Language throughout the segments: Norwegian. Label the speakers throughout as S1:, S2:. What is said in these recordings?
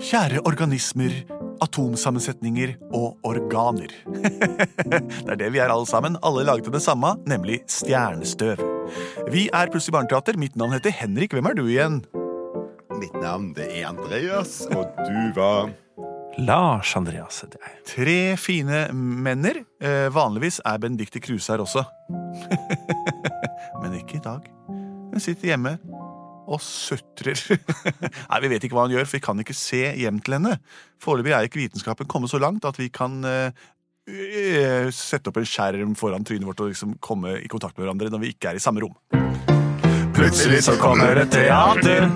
S1: Kjære organismer, atomsammensetninger og organer. det er det vi er alle sammen, alle laget av det samme, nemlig stjernestøv. Vi er Plutselig barneteater. Mitt navn heter Henrik. Hvem er du igjen?
S2: Mitt navn det er Andreas, og du var
S3: Lars Andreas heter jeg.
S1: Tre fine menner. Eh, vanligvis er Benedicte Kruse her også. Men ikke i dag. Hun sitter hjemme og sutrer. Nei, Vi vet ikke hva hun gjør, for vi kan ikke se hjem til henne. Foreløpig er ikke vitenskapen kommet så langt at vi kan eh, eh, sette opp en skjerm foran trynet vårt og liksom komme i kontakt med hverandre når vi ikke er i samme rom.
S2: Plutselig så kommer
S3: et teater.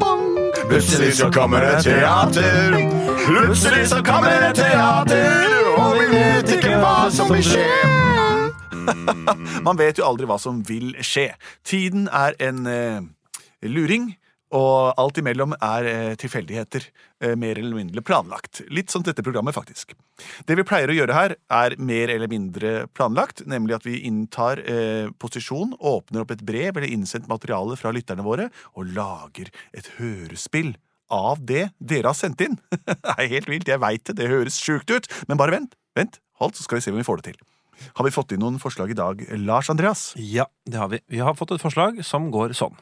S2: Plutselig så kommer et teater. Plutselig så kommer et teater, og vi vet ikke hva som vil skje.
S1: Man vet jo aldri hva som vil skje. Tiden er en eh, luring, og alt imellom er eh, tilfeldigheter. Eh, mer eller mindre planlagt. Litt som dette programmet, faktisk. Det vi pleier å gjøre her, er mer eller mindre planlagt, nemlig at vi inntar eh, posisjon, åpner opp et brev eller innsendt materiale fra lytterne våre, og lager et hørespill. Av det dere har sendt inn. Det er helt vilt, jeg veit det, det høres sjukt ut, men bare vent, vent, hold, så skal vi se om vi får det til. Har vi fått inn noen forslag i dag, Lars Andreas?
S3: Ja, det har vi. Vi har fått et forslag som går sånn.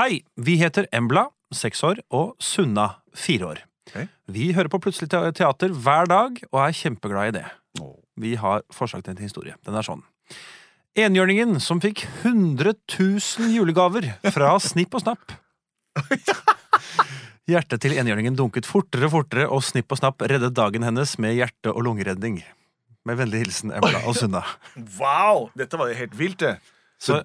S3: Hei, vi heter Embla, seks år, og Sunna, fire år.
S1: Ok.
S3: Vi hører på Plutselig te- teater hver dag og er kjempeglad i det. Vi har forslag til en historie. Den er sånn. Enhjørningen som fikk 100 000 julegaver fra Snipp og Snapp. Hjertet til enhjørningen dunket fortere og fortere, og Snipp og Snapp reddet dagen hennes med hjerte- og lungeredning. Med vennlig hilsen Embla og Sunna.
S1: Wow! Dette var jo helt vilt, det.
S3: Så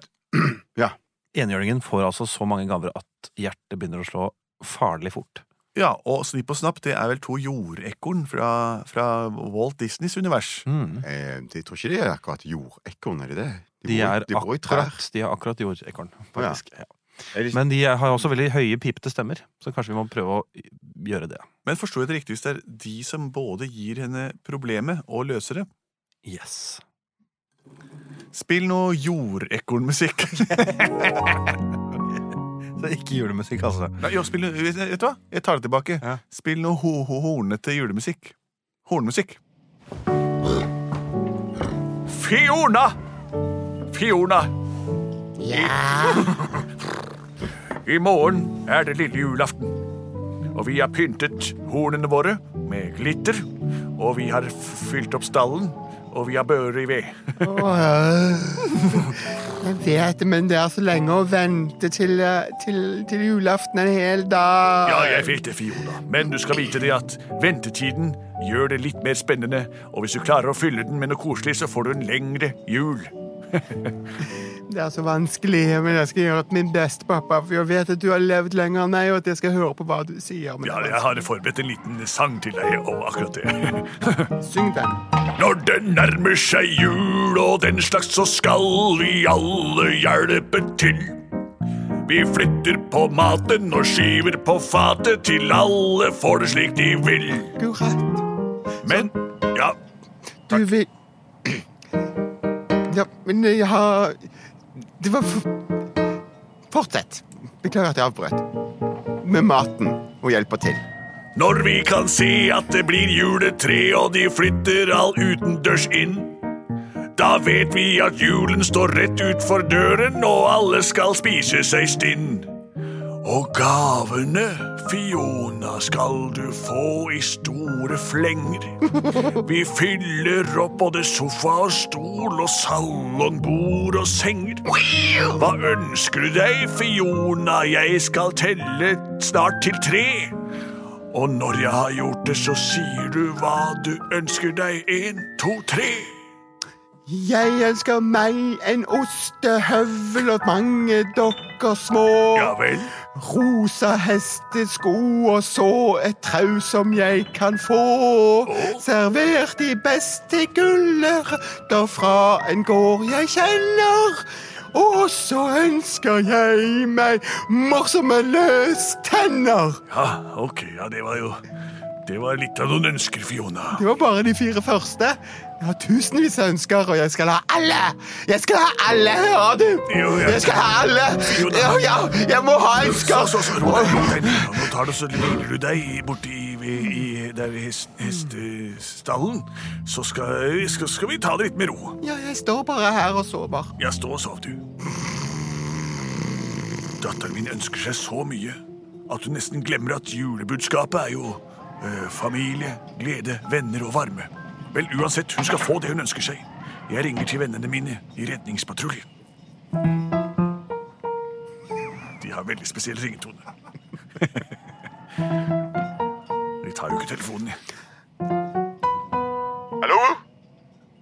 S2: Ja.
S3: enhjørningen får altså så mange gaver at hjertet begynner å slå farlig fort.
S1: Ja, og Snipp og Snapp det er vel to jordekorn fra, fra Walt Disneys univers.
S3: Mm.
S2: Eh, jeg tror ikke de er akkurat jordekorn, er de det?
S3: De,
S2: bor i-
S3: er
S2: de bor i trær.
S3: akkurat, de er akkurat jordekorn, faktisk. Ja.
S2: Er de-
S3: Men de er- har også veldig høye, pipete stemmer, så kanskje vi må prøve å gjøre det.
S1: Men forstår jeg det riktig hvis det er de som både gir henne problemet og løser det?
S3: Yes.
S1: Spill noe jordekornmusikk.
S3: Så ikke julemusikk, altså.
S1: Nei, jo, spill noe, vet vet du hva? Jeg tar det tilbake.
S3: Ja.
S1: Spill noe ho ho hornete julemusikk. Hornmusikk. Fiona! Fiona! I morgen er det lille julaften. Og vi har pyntet hornene våre med glitter. Og vi har f- fylt opp stallen, og vi har bører i ved.
S4: Jeg vet det, men det er så lenge å vente til, eh, til, til julaften en hel dag.
S1: Ja, jeg vet det, Fiona. Men du skal vite det at ventetiden gjør det litt mer spennende. Og hvis du klarer å fylle den med noe koselig, så får du en lengre jul.
S4: Det er så vanskelig, men jeg skal gjøre min beste, pappa. For jeg vet at du har levd lenger enn meg, og at jeg skal høre på hva du sier. Men
S1: Ja,
S4: det er
S1: jeg har forberedt en liten sang til deg om akkurat det.
S4: vanskelig. Syng den.
S1: Når det nærmer seg jul og den slags, så skal vi alle hjelpe til. Vi flytter på maten og skyver på fatet til alle får det slik de vil.
S4: Akkurat.
S1: Men ja,
S4: Du vil Ja, men jeg har Det var for... Fortsett. Beklager at jeg avbrøt. Med maten og hjelper til.
S1: Når vi kan se at det blir juletre og de flytter all utendørs inn. Da vet vi at julen står rett utfor døren og alle skal spise seg stinn. Og gavene, Fiona, skal du få i store flenger. Vi fyller opp både sofa og stol og salongbord og senger. Hva ønsker du deg, Fiona? Jeg skal telle snart til tre. Og når jeg har gjort det, så sier du hva du ønsker deg. En, to, tre.
S4: Jeg ønsker meg en ostehøvel og mange dokker små.
S1: Ja vel.
S4: Rosa hestesko og så et trau som jeg kan få. Servert i beste gulrøtter fra en gård jeg kjenner. Og så ønsker jeg meg morsomme løstenner.
S1: Ja, ok, ja, det var jo Det var litt av noen ønsker, Fiona.
S4: Det var bare de fire første. Jeg har tusenvis av ønsker, og jeg skal ha alle! Jeg skal ha alle, hører du?
S1: Jo, ja.
S4: Jeg skal ha alle!
S1: Jo, da.
S4: Ja, ja, jeg må ha
S1: Så,
S4: ønsker!
S1: så, så, ro deg, ro deg ned. Nå tar du så hviler du deg borti i, i der i hest, hestestallen. Så skal, skal, skal vi ta det litt med ro.
S4: Ja, jeg står bare her og sover.
S1: Jeg står og sov, du. Datteren min ønsker seg så mye at hun nesten glemmer at julebudskapet er jo eh, familie, glede, venner og varme. Vel, uansett, hun skal få det hun ønsker seg. Jeg ringer til vennene mine i redningspatruljen. De har veldig spesiell ringetone. De tar jo ikke telefonen.
S2: Hallo?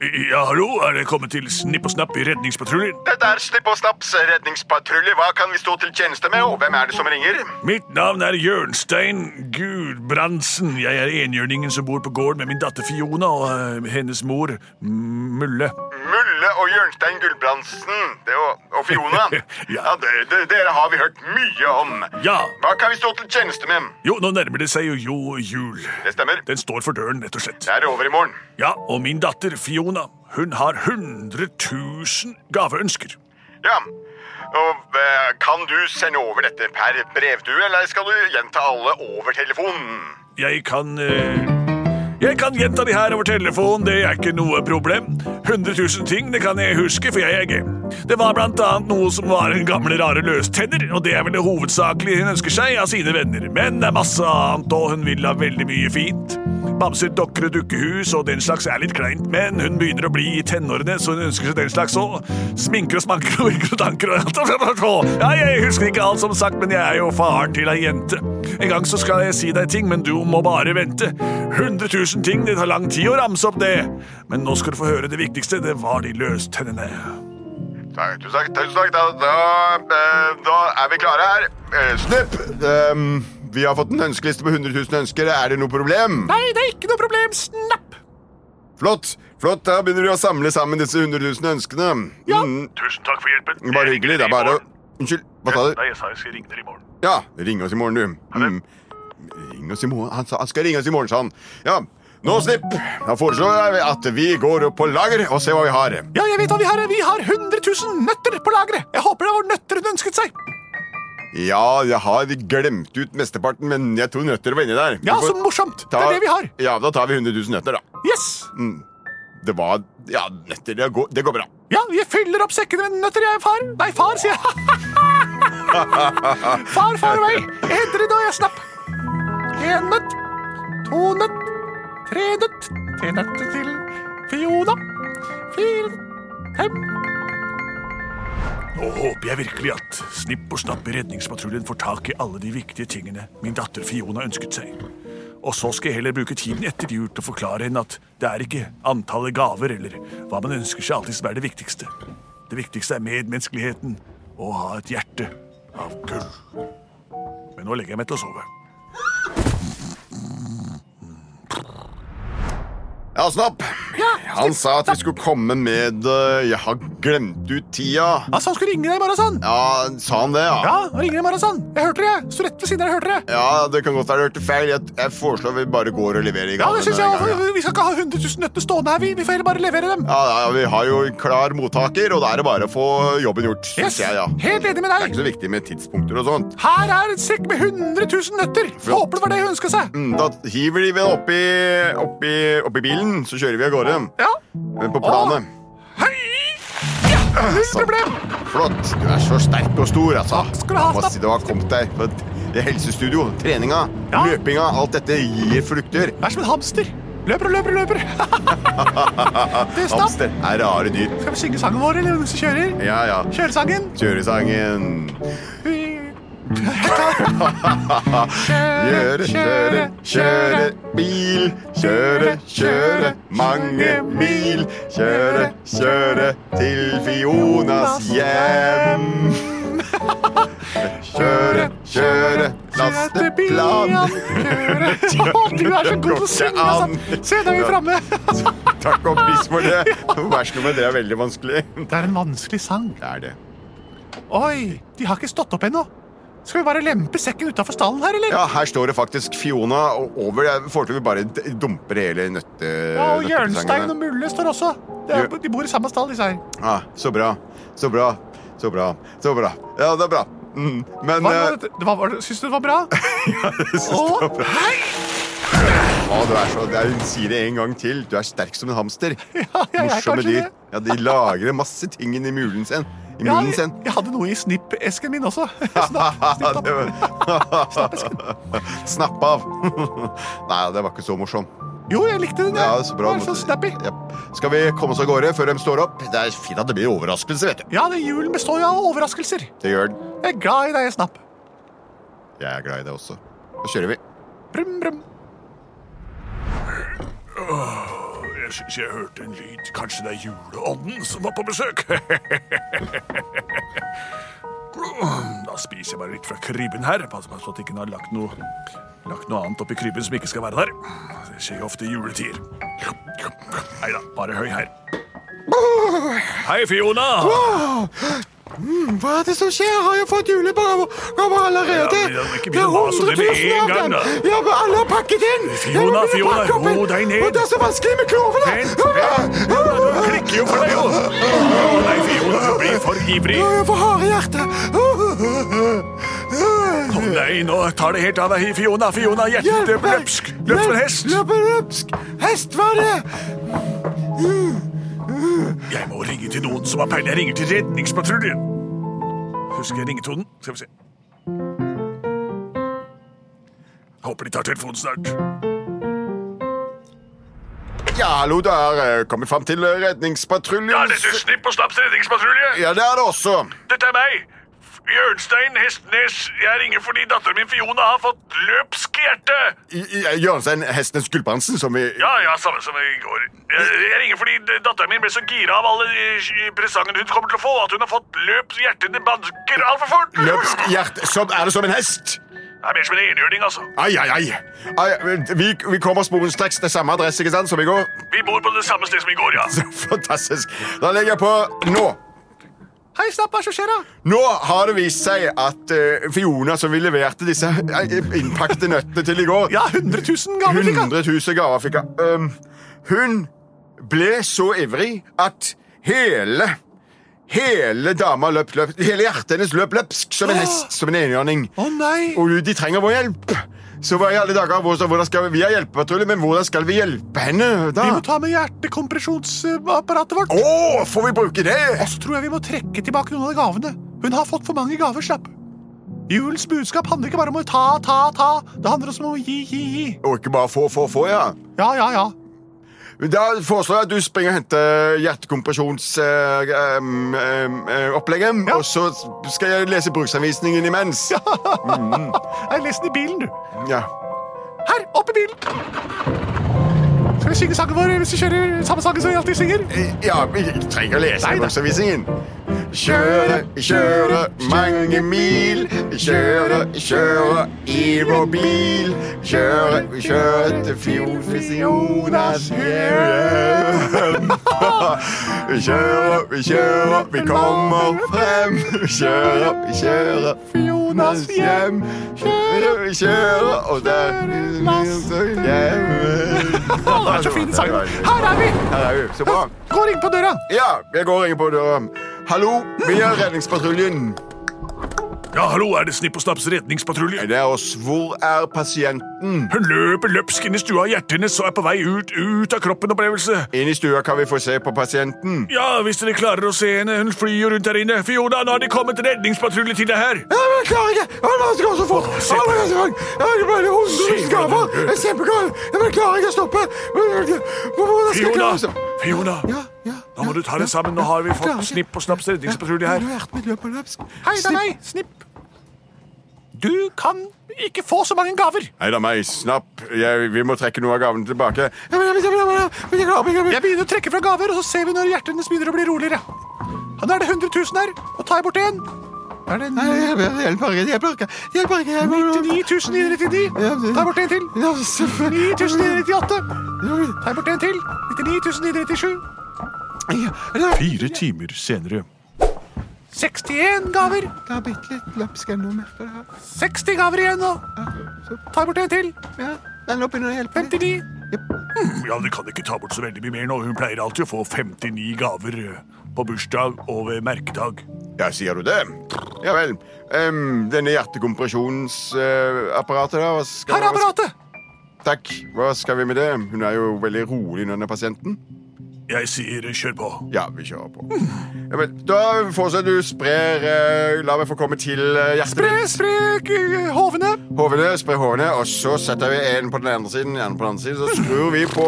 S1: Ja, hallo, er det kommet til Snipp og Snapp i redningspatruljen?
S2: Dette er Slipp og Snaps redningspatrulje. Hva kan vi stå til tjeneste med, og hvem er det som ringer?
S1: Mitt navn er Jørnstein Gudbrandsen. Jeg er enhjørningen som bor på gården med min datter Fiona og eh, hennes mor Mulle.
S2: Mulle og Jørnstein Gulbrandsen det og, og Fiona.
S1: Ja.
S2: ja, det, det, Dere har vi hørt mye om.
S1: Ja.
S2: Hva kan vi stå til tjeneste med?
S1: Jo, nå nærmer det seg jo, jo jul.
S2: Det stemmer.
S1: Den står for døren, rett og slett.
S2: Det er over i morgen.
S1: Ja, og min datter Fiona, hun har 100 000 gaveønsker.
S2: Ja. Og eh, Kan du sende over dette per brevdue, eller skal du gjenta alle over telefonen?
S1: Jeg kan eh, Jeg kan gjenta de her over telefon, det er ikke noe problem. 100 000 ting det kan jeg huske, for jeg er gay. Det var blant annet noe som var en gamle, rare løstenner, og det er vel det hovedsakelig hun ønsker seg av sine venner. Men det er masse annet, og hun vil ha veldig mye fint. Bamser, dokker og dukkehus og den slags er litt kleint, men hun begynner å bli i tenårene, så hun ønsker seg den slags òg. Sminker og smanker og virker og tanker og alt. Ja, jeg husker ikke alt, som sagt, men jeg er jo faren til ei jente. En gang så skal jeg si deg ting, men du må bare vente. 100 000 ting, det tar lang tid å ramse opp det. Men nå skal du få høre det viktigste, det var de løstennene.
S2: Takk, tusen takk. tusen takk. Da, da, eh, da er vi klare her. Eh, Snipp! ehm, vi har fått en ønskeliste på 100 000 ønsker. Er det noe problem?
S1: Nei, det er ikke noe problem, snapp!
S2: Flott! flott, Da begynner vi å samle sammen disse 100 000 ønskene. Mm,
S1: Tusen takk for hjelpen.
S2: bare hyggelig. Det er bare å Unnskyld, hva sa du?
S1: Nei, jeg sa jeg skulle ringe dere i morgen.
S2: Ja, ring oss i morgen, du. Mm. Ring oss i morgen. Han, sa, han skal ringe oss i morgen, sa han. Ja, nå, Snipp, da foreslår jeg at vi går opp på lager og ser hva vi har.
S1: Ja, jeg vet hva vi har. Vi har 100 000 nøtter på lageret. Jeg håper det var nøtter hun ønsket seg.
S2: Ja, jeg har glemt ut mesteparten, men jeg tror nøtter var inni der.
S1: Ja,
S2: Vi får
S1: så morsomt. Det
S2: ta-
S1: er det vi har.
S2: Ja, da tar vi 100 000 nøtter, da.
S1: Yes.
S2: Det var Ja, nøtter. Det går, det går bra.
S1: Ja, jeg fyller opp sekkene med nøtter, jeg, far. Nei, far, sier jeg. far, far og meg. Jeg henter det da, jeg snapp. En nøtt, to nøtt, tre nøtt, tre nøtter til Fiona. Fire, fem. Nå håper jeg virkelig at Snipp og Snapp i redningspatruljen får tak i alle de viktige tingene min datter Fiona ønsket seg. Og så skal jeg heller bruke tiden etter jul til å forklare henne at det er ikke antallet gaver eller hva man ønsker seg alltid som er det viktigste. Det viktigste er medmenneskeligheten og å ha et hjerte av gull. Men nå legger jeg meg til å sove.
S2: Ja, Snapp. han sa at vi skulle komme med eh, Jeg har glemt ut tida.
S1: Altså, han skulle ringe deg i morgen, sa han.
S2: Ja, sa han det, ja?
S1: Ja, han ringer deg i morgen, sa han. Jeg hørte det, jeg. Sto rett ved siden av deg, hørte det.
S2: Ja, det kan godt være jeg hørte feil. Jeg, jeg foreslår vi bare går og leverer i
S1: Ja,
S2: gang.
S1: det synes jeg. også. Vi skal ikke ha 100 000 nøtter stående her, vi. Vi får heller bare levere dem.
S2: Ja, ja, vi har jo en klar mottaker, og da er det bare å få jobben gjort. synes
S1: Yes,
S2: jeg, ja. Det
S1: helt enig med
S2: er
S1: deg.
S2: ikke så viktig med tidspunkter og sånt.
S1: Her er en sekk med 100 000 nøtter.
S2: Flott.
S1: Håper det var det hun ønska seg.
S2: Mm, Da hiver de vel oppi, oppi, oppi bilen, så kjører vi av gårde.
S1: Ja.
S2: Men På planet.
S1: Hei! Ja, null
S2: sant.
S1: problem.
S2: Flott. Du er så sterk og stor, altså.
S1: skal du ha,
S2: Må
S1: Stapp.
S2: si du har kommet deg på det helsestudio. Treninga,
S1: Ja.
S2: løpinga, alt dette gir frukter.
S1: Vær som en hamster. Løper og løper og løper. du, stopp.
S2: Hamster er rare dyr.
S1: Skal vi synge sangen vår, eller noen som kjører?
S2: Ja, ja.
S1: Kjøresangen.
S2: Kjøresangen.
S1: Kjøre,
S2: Kjøre, kjøre, kjøre bil. Kjøre, kjøre mange mil. Kjøre, kjøre til Fionas hjem. Kjøre, kjøre lasteplan.
S1: Kjøre. Å, du er så god til å synge, altså. Se, da er vi framme.
S2: Takk og pris for det. Versnummer det er veldig vanskelig.
S1: Det er en vanskelig sang.
S2: Det er det.
S1: Oi, de har ikke stått opp ennå.
S5: Skal vi bare lempe sekken utafor stallen her, eller?
S2: Ja, her står det faktisk Fiona og over. Jeg foreslår vi bare d- dumper hele nøtte...
S5: Ja, og Jørnstein
S2: nøttepresangene.
S5: og Mulle står også. Det er,
S2: Gjør-
S5: de bor i samme stall, disse her.
S2: Ja, Ah, så bra. Så bra. Så bra. Så bra. Ja, det er bra. Mm. Men
S5: Hva, var
S2: eh,
S5: det- hva, var det- Syns du det var bra? Å,
S2: Å, du er så det er- Hun sier det en gang til. Du er sterk som en hamster.
S5: Ja, jeg er
S2: Morsomme
S5: kanskje
S2: dyr.
S5: det.
S2: Ja, De lagrer masse ting inni mulen sin. I
S5: ja,
S2: munnen
S5: jeg,
S2: sin.
S5: jeg hadde noe i snippesken min også.
S2: Ja, det var- Snapp av. Nei, det var ikke så morsom.
S5: Jo, jeg likte den.
S2: Ja, så bra.
S5: Det var så snappy.
S2: Ja. Skal vi komme oss av gårde før de står opp? Det er fint at det blir overraskelse, vet du.
S5: Ja, det julen består jo av overraskelser.
S2: Det gjør den.
S5: Jeg er glad i deg, Snapp.
S2: Jeg er glad i det også. Da kjører vi.
S5: Brum, brum.
S1: Jeg syns jeg hørte en lyd. Kanskje det er juleånden som var på besøk? da spiser jeg bare litt fra krybben her. Pass på at jeg ikke har lagt noe, lagt noe annet oppi krybben som ikke skal være der. Det skjer jo ofte i juletider. Nei da, bare høy her. Hei, Fiona.
S4: Hva er det som skjer? Har jeg fått julegaver allerede?
S1: Ja, men det er ikke mye å mase om det med
S4: 100 000
S1: en gang, da.
S4: Ja, men alle har pakket inn!
S1: Fiona,
S4: Jeg må begynne å
S1: Fiona,
S4: pakke opp en-
S1: ro deg ned.
S4: Og det er så vanskelig med klovene!
S1: Vent, vent. Du klikker jo for deg, jo. Å, Nei, Fiona, du blir for ivrig.
S4: Jeg får harde hjertet.
S1: Å nei, nå tar det helt av deg, Fiona. Fiona, hjertet ditt
S4: meg.
S1: løpsk. Løp som en hest.
S4: Løp en løpsk hest, var det?
S1: Jeg må ringe til noen som har peiling. Jeg ringer til redningspatruljen. Husker jeg ringetonen? Skal vi se. Håper de tar telefonen snart.
S2: Ja, hallo, der kommer vi fram til redningspatruljen.
S1: Ja, dette er Snipp og Snapps redningspatrulje.
S2: Ja, det er det også.
S1: Dette er meg. Bjørnstein Hestnes. Jeg ringer fordi datteren min Fiona har fått løpsk hjerte.
S2: I- altså I- Jørgenstein Hestenes Gulbrandsen, som vi
S1: Ja, ja, samme som i går. Jeg, jeg ringer fordi datteren min ble så gira av alle eh, presangene hun kommer til å få, at hun har fått løpsk hjerte. Det banker altfor fort.
S2: Løpsk hjerte som Er det som en hest?
S1: Det er mer som en enhjørning, altså.
S2: Ai, ai, ai. ai vi, vi kommer sporenstreks til samme adresse ikke sant, som i går.
S1: Vi bor på det samme sted som i går, ja.
S2: Så fantastisk. Da legger jeg på nå.
S5: Hei, Snapp, hva er det som skjer, da?
S2: Nå har det vist seg at eh, Fiona, som vi leverte disse eh, innpakte nøttene til i går
S5: Ja, 100 000 gaver fikk han.
S2: 100 000 gaver fikk hun. Um, hun ble så ivrig at hele Hele dama løp, løp, hele hjertet hennes løp løpsk som en hest, som en enhjørning.
S5: Å nei.
S2: Og de trenger vår hjelp. Så hva i alle dager, hvor- hvordan skal vi, vi har hjelpepatrulje, men hvordan skal vi hjelpe henne
S5: Vi
S2: da?
S5: må ta med hjertekompresjonsapparatet vårt.
S2: Å, får vi bruke det?
S5: Og så tror jeg vi må trekke tilbake noen av gavene. Hun har fått for mange gaver, slapp. Julens budskap handler ikke bare om å ta, ta, ta. Det handler også om å gi, gi, gi.
S2: Og ikke bare få, få, få, ja.
S5: Ja, ja, ja.
S2: Da foreslår jeg at du springer og henter eh, mm, hjertekompresjonsopplegget,
S5: Ja.
S2: eh, og så skal jeg lese bruksanvisningen imens. Ja.
S5: Jeg leser den i bilen, du.
S2: ja.
S5: Her, opp i bilen. Skal vi synge sangen vår hvis vi kjører samme sangen som vi alltid synger?
S2: vi trenger å lese
S5: Nei da.
S2: bruksanvisningen. Kjøre, kjøre mange mil. Kjøre, kjøre i vår bil. Kjøre, kjøre til fjord hvis Jonas hører. Vi kjører, vi kjører, vi kommer frem. Vi kjører, vi kjører, Fionas hjem. Kjører, vi kjører, og der er hjemme.
S5: Å, det er så fin sang. Her er vi.
S2: Her er vi. Så bra.
S5: Går inn på døra.
S2: Ja, jeg går og ringer på døra. Hallo, vi er redningspatruljen.
S1: Ja, hallo, er det Snipp og Snaps redningspatrulje?
S2: Det er oss. Hvor er pasienten?
S1: Hun løper løpsk inn i stua, hjertet hennes og er på vei ut, ut av kroppen-opplevelse.
S2: Inn i stua kan vi få se på pasienten.
S1: Ja, hvis dere klarer å se henne, hun flyr jo rundt her inne. Fiona, nå har det kommet redningspatrulje til deg her.
S4: Ja, men jeg klarer ikke! Å, la oss gå så fort!
S1: se
S4: Å,
S1: på-
S4: la oss gå. Jeg har bare 100 000 gaver! Jeg er kjempegal! Ja, men jeg klarer ikke å stoppe! Men, men, men, Hvordan
S1: Fiona,
S4: skal jeg klare å stoppe?
S1: Fiona,
S4: Ja, ja,
S1: nå må
S4: ja,
S1: du ta deg
S4: ja,
S1: sammen. Nå
S4: ja,
S1: har vi
S4: jeg klarer
S1: fått
S4: ikke.
S1: Snipp og Snaps redningspatrullet
S4: Ja,
S1: her.
S4: nå er hjertet mitt løper løpsk.
S5: Hei, det er meg. Snipp. Du kan ikke få så mange gaver.
S2: Hei da, meg. Snapp. Jeg, vi må trekke noe av gavene tilbake.
S4: Ja, men, ja, men, ja, men, ja, men, ja, men, jeg klarer ikke,
S5: Jeg begynner å trekke fra gaver, og så ser vi når hjertet hennes begynner å bli roligere. Ja, Nå er det 100 000 her. Nå tar jeg bort én. Da Er det
S4: Nei, jeg bare- jeg bare- jeg bare- jeg bare- jeg bare-
S5: 99.999. Ta bort en til.
S4: Ja, selvfølgelig.
S5: 9998.
S4: Ja, men-
S5: Ta bort en til. 99.997.
S4: ja, ja.
S1: Fire timer senere. 61 gaver.
S4: Det har bitte litt løpsk ennå. merker jeg.
S1: 60 gaver igjen nå.
S4: Ja, så,
S1: Ta bort en til.
S4: ja. Men nå begynner det å hjelpe. litt.
S1: 59.
S6: Ja, det kan ikke ta bort så veldig mye mer nå. Hun pleier alltid å få 59 gaver eh, på bursdag og ved merkedag.
S2: Ja, sier du det? Ja vel. Ehm, denne hjertekompresjonsapparatet der hva skal
S1: Her er apparatet.
S2: Hva, Takk. Hva skal vi med det? Hun er jo veldig rolig, denne pasienten.
S6: Jeg sier eh, kjør på.
S2: Ja, vi kjører på. Ja, men, da fortsetter du sprer eh, La meg få komme til eh, hjertet
S1: Spre, spre k- hovene.
S2: Hovene, spre hovene, og så setter vi en på den ene siden, en på den andre siden, så skrur vi på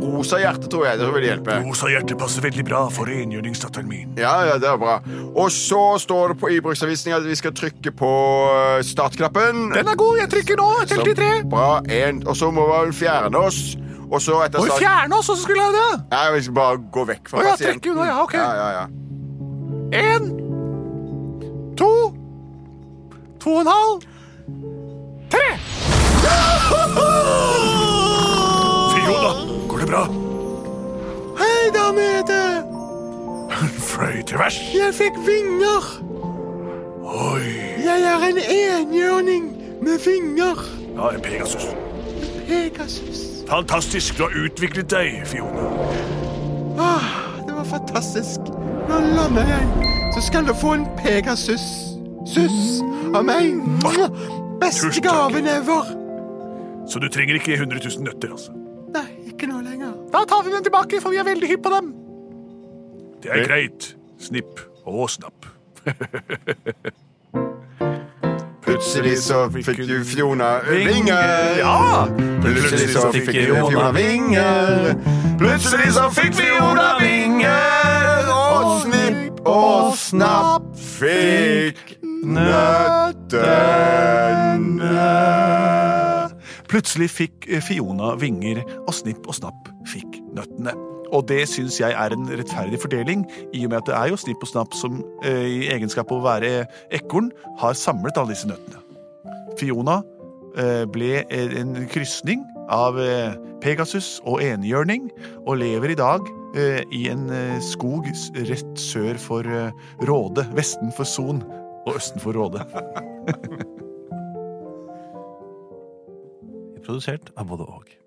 S2: rosa hjerte, tror jeg. Det vil hjelpe.
S6: Rosa hjerte passer veldig bra for rengjøringsdatteren min.
S2: Ja, ja, det er bra. Og så står det på i bruksanvisningen at vi skal trykke på eh, startknappen.
S1: Den er god. Jeg trykker nå. Jeg teller til tre.
S2: Så Bra, en, og så må vi fjerne oss. Og så etter
S1: Må jo
S2: start...
S1: fjerne oss, og så skulle jeg det.
S2: Nei, vi skal bare gå vekk fra
S1: Å ja,
S2: pasienten.
S1: trekker vi nå, ja, ok.
S2: ja, ja, ja.
S1: Én, to, to og en halv, tre.
S6: Fiona, går det bra?
S4: Hei der nede!
S6: Fløy til værs.
S4: Jeg fikk vinger!
S6: Oi.
S4: Jeg er en enhjørning med vinger.
S6: Ja, en Pegasus.
S4: Pegasus.
S6: Fantastisk. Du har utviklet deg, Fiona.
S4: Ah, det var fantastisk. Nå lander jeg. Så skal du få en Pegasus. Suss av meg.
S6: Tusen
S4: Beste
S6: takk.
S4: gaven ever.
S6: Så du trenger ikke 100 000 nøtter, altså.
S4: Nei, ikke nå lenger.
S1: Da tar vi den tilbake, for vi er veldig hypp på dem.
S6: Det er greit. Snipp og snapp.
S2: Plutselig så fikk jo Fiona vinger.
S6: Ja!
S2: Plutselig så fikk Fiona vinger. Plutselig så fikk Fiona vinger. Og snipp og snapp fikk nøttene.
S1: Plutselig fikk eh, Fiona vinger, og Snipp og Snapp fikk nøttene. Og det syns jeg er en rettferdig fordeling, i og med at det er jo Snipp og Snapp som eh, i egenskap av å være ekorn har samlet alle disse nøttene. Fiona eh, ble eh, en krysning av eh, Pegasus og enhjørning, og lever i dag eh, i en eh, skog s- rett sør for eh, Råde, vesten for Son og østen for Råde.
S3: Produsert av både og.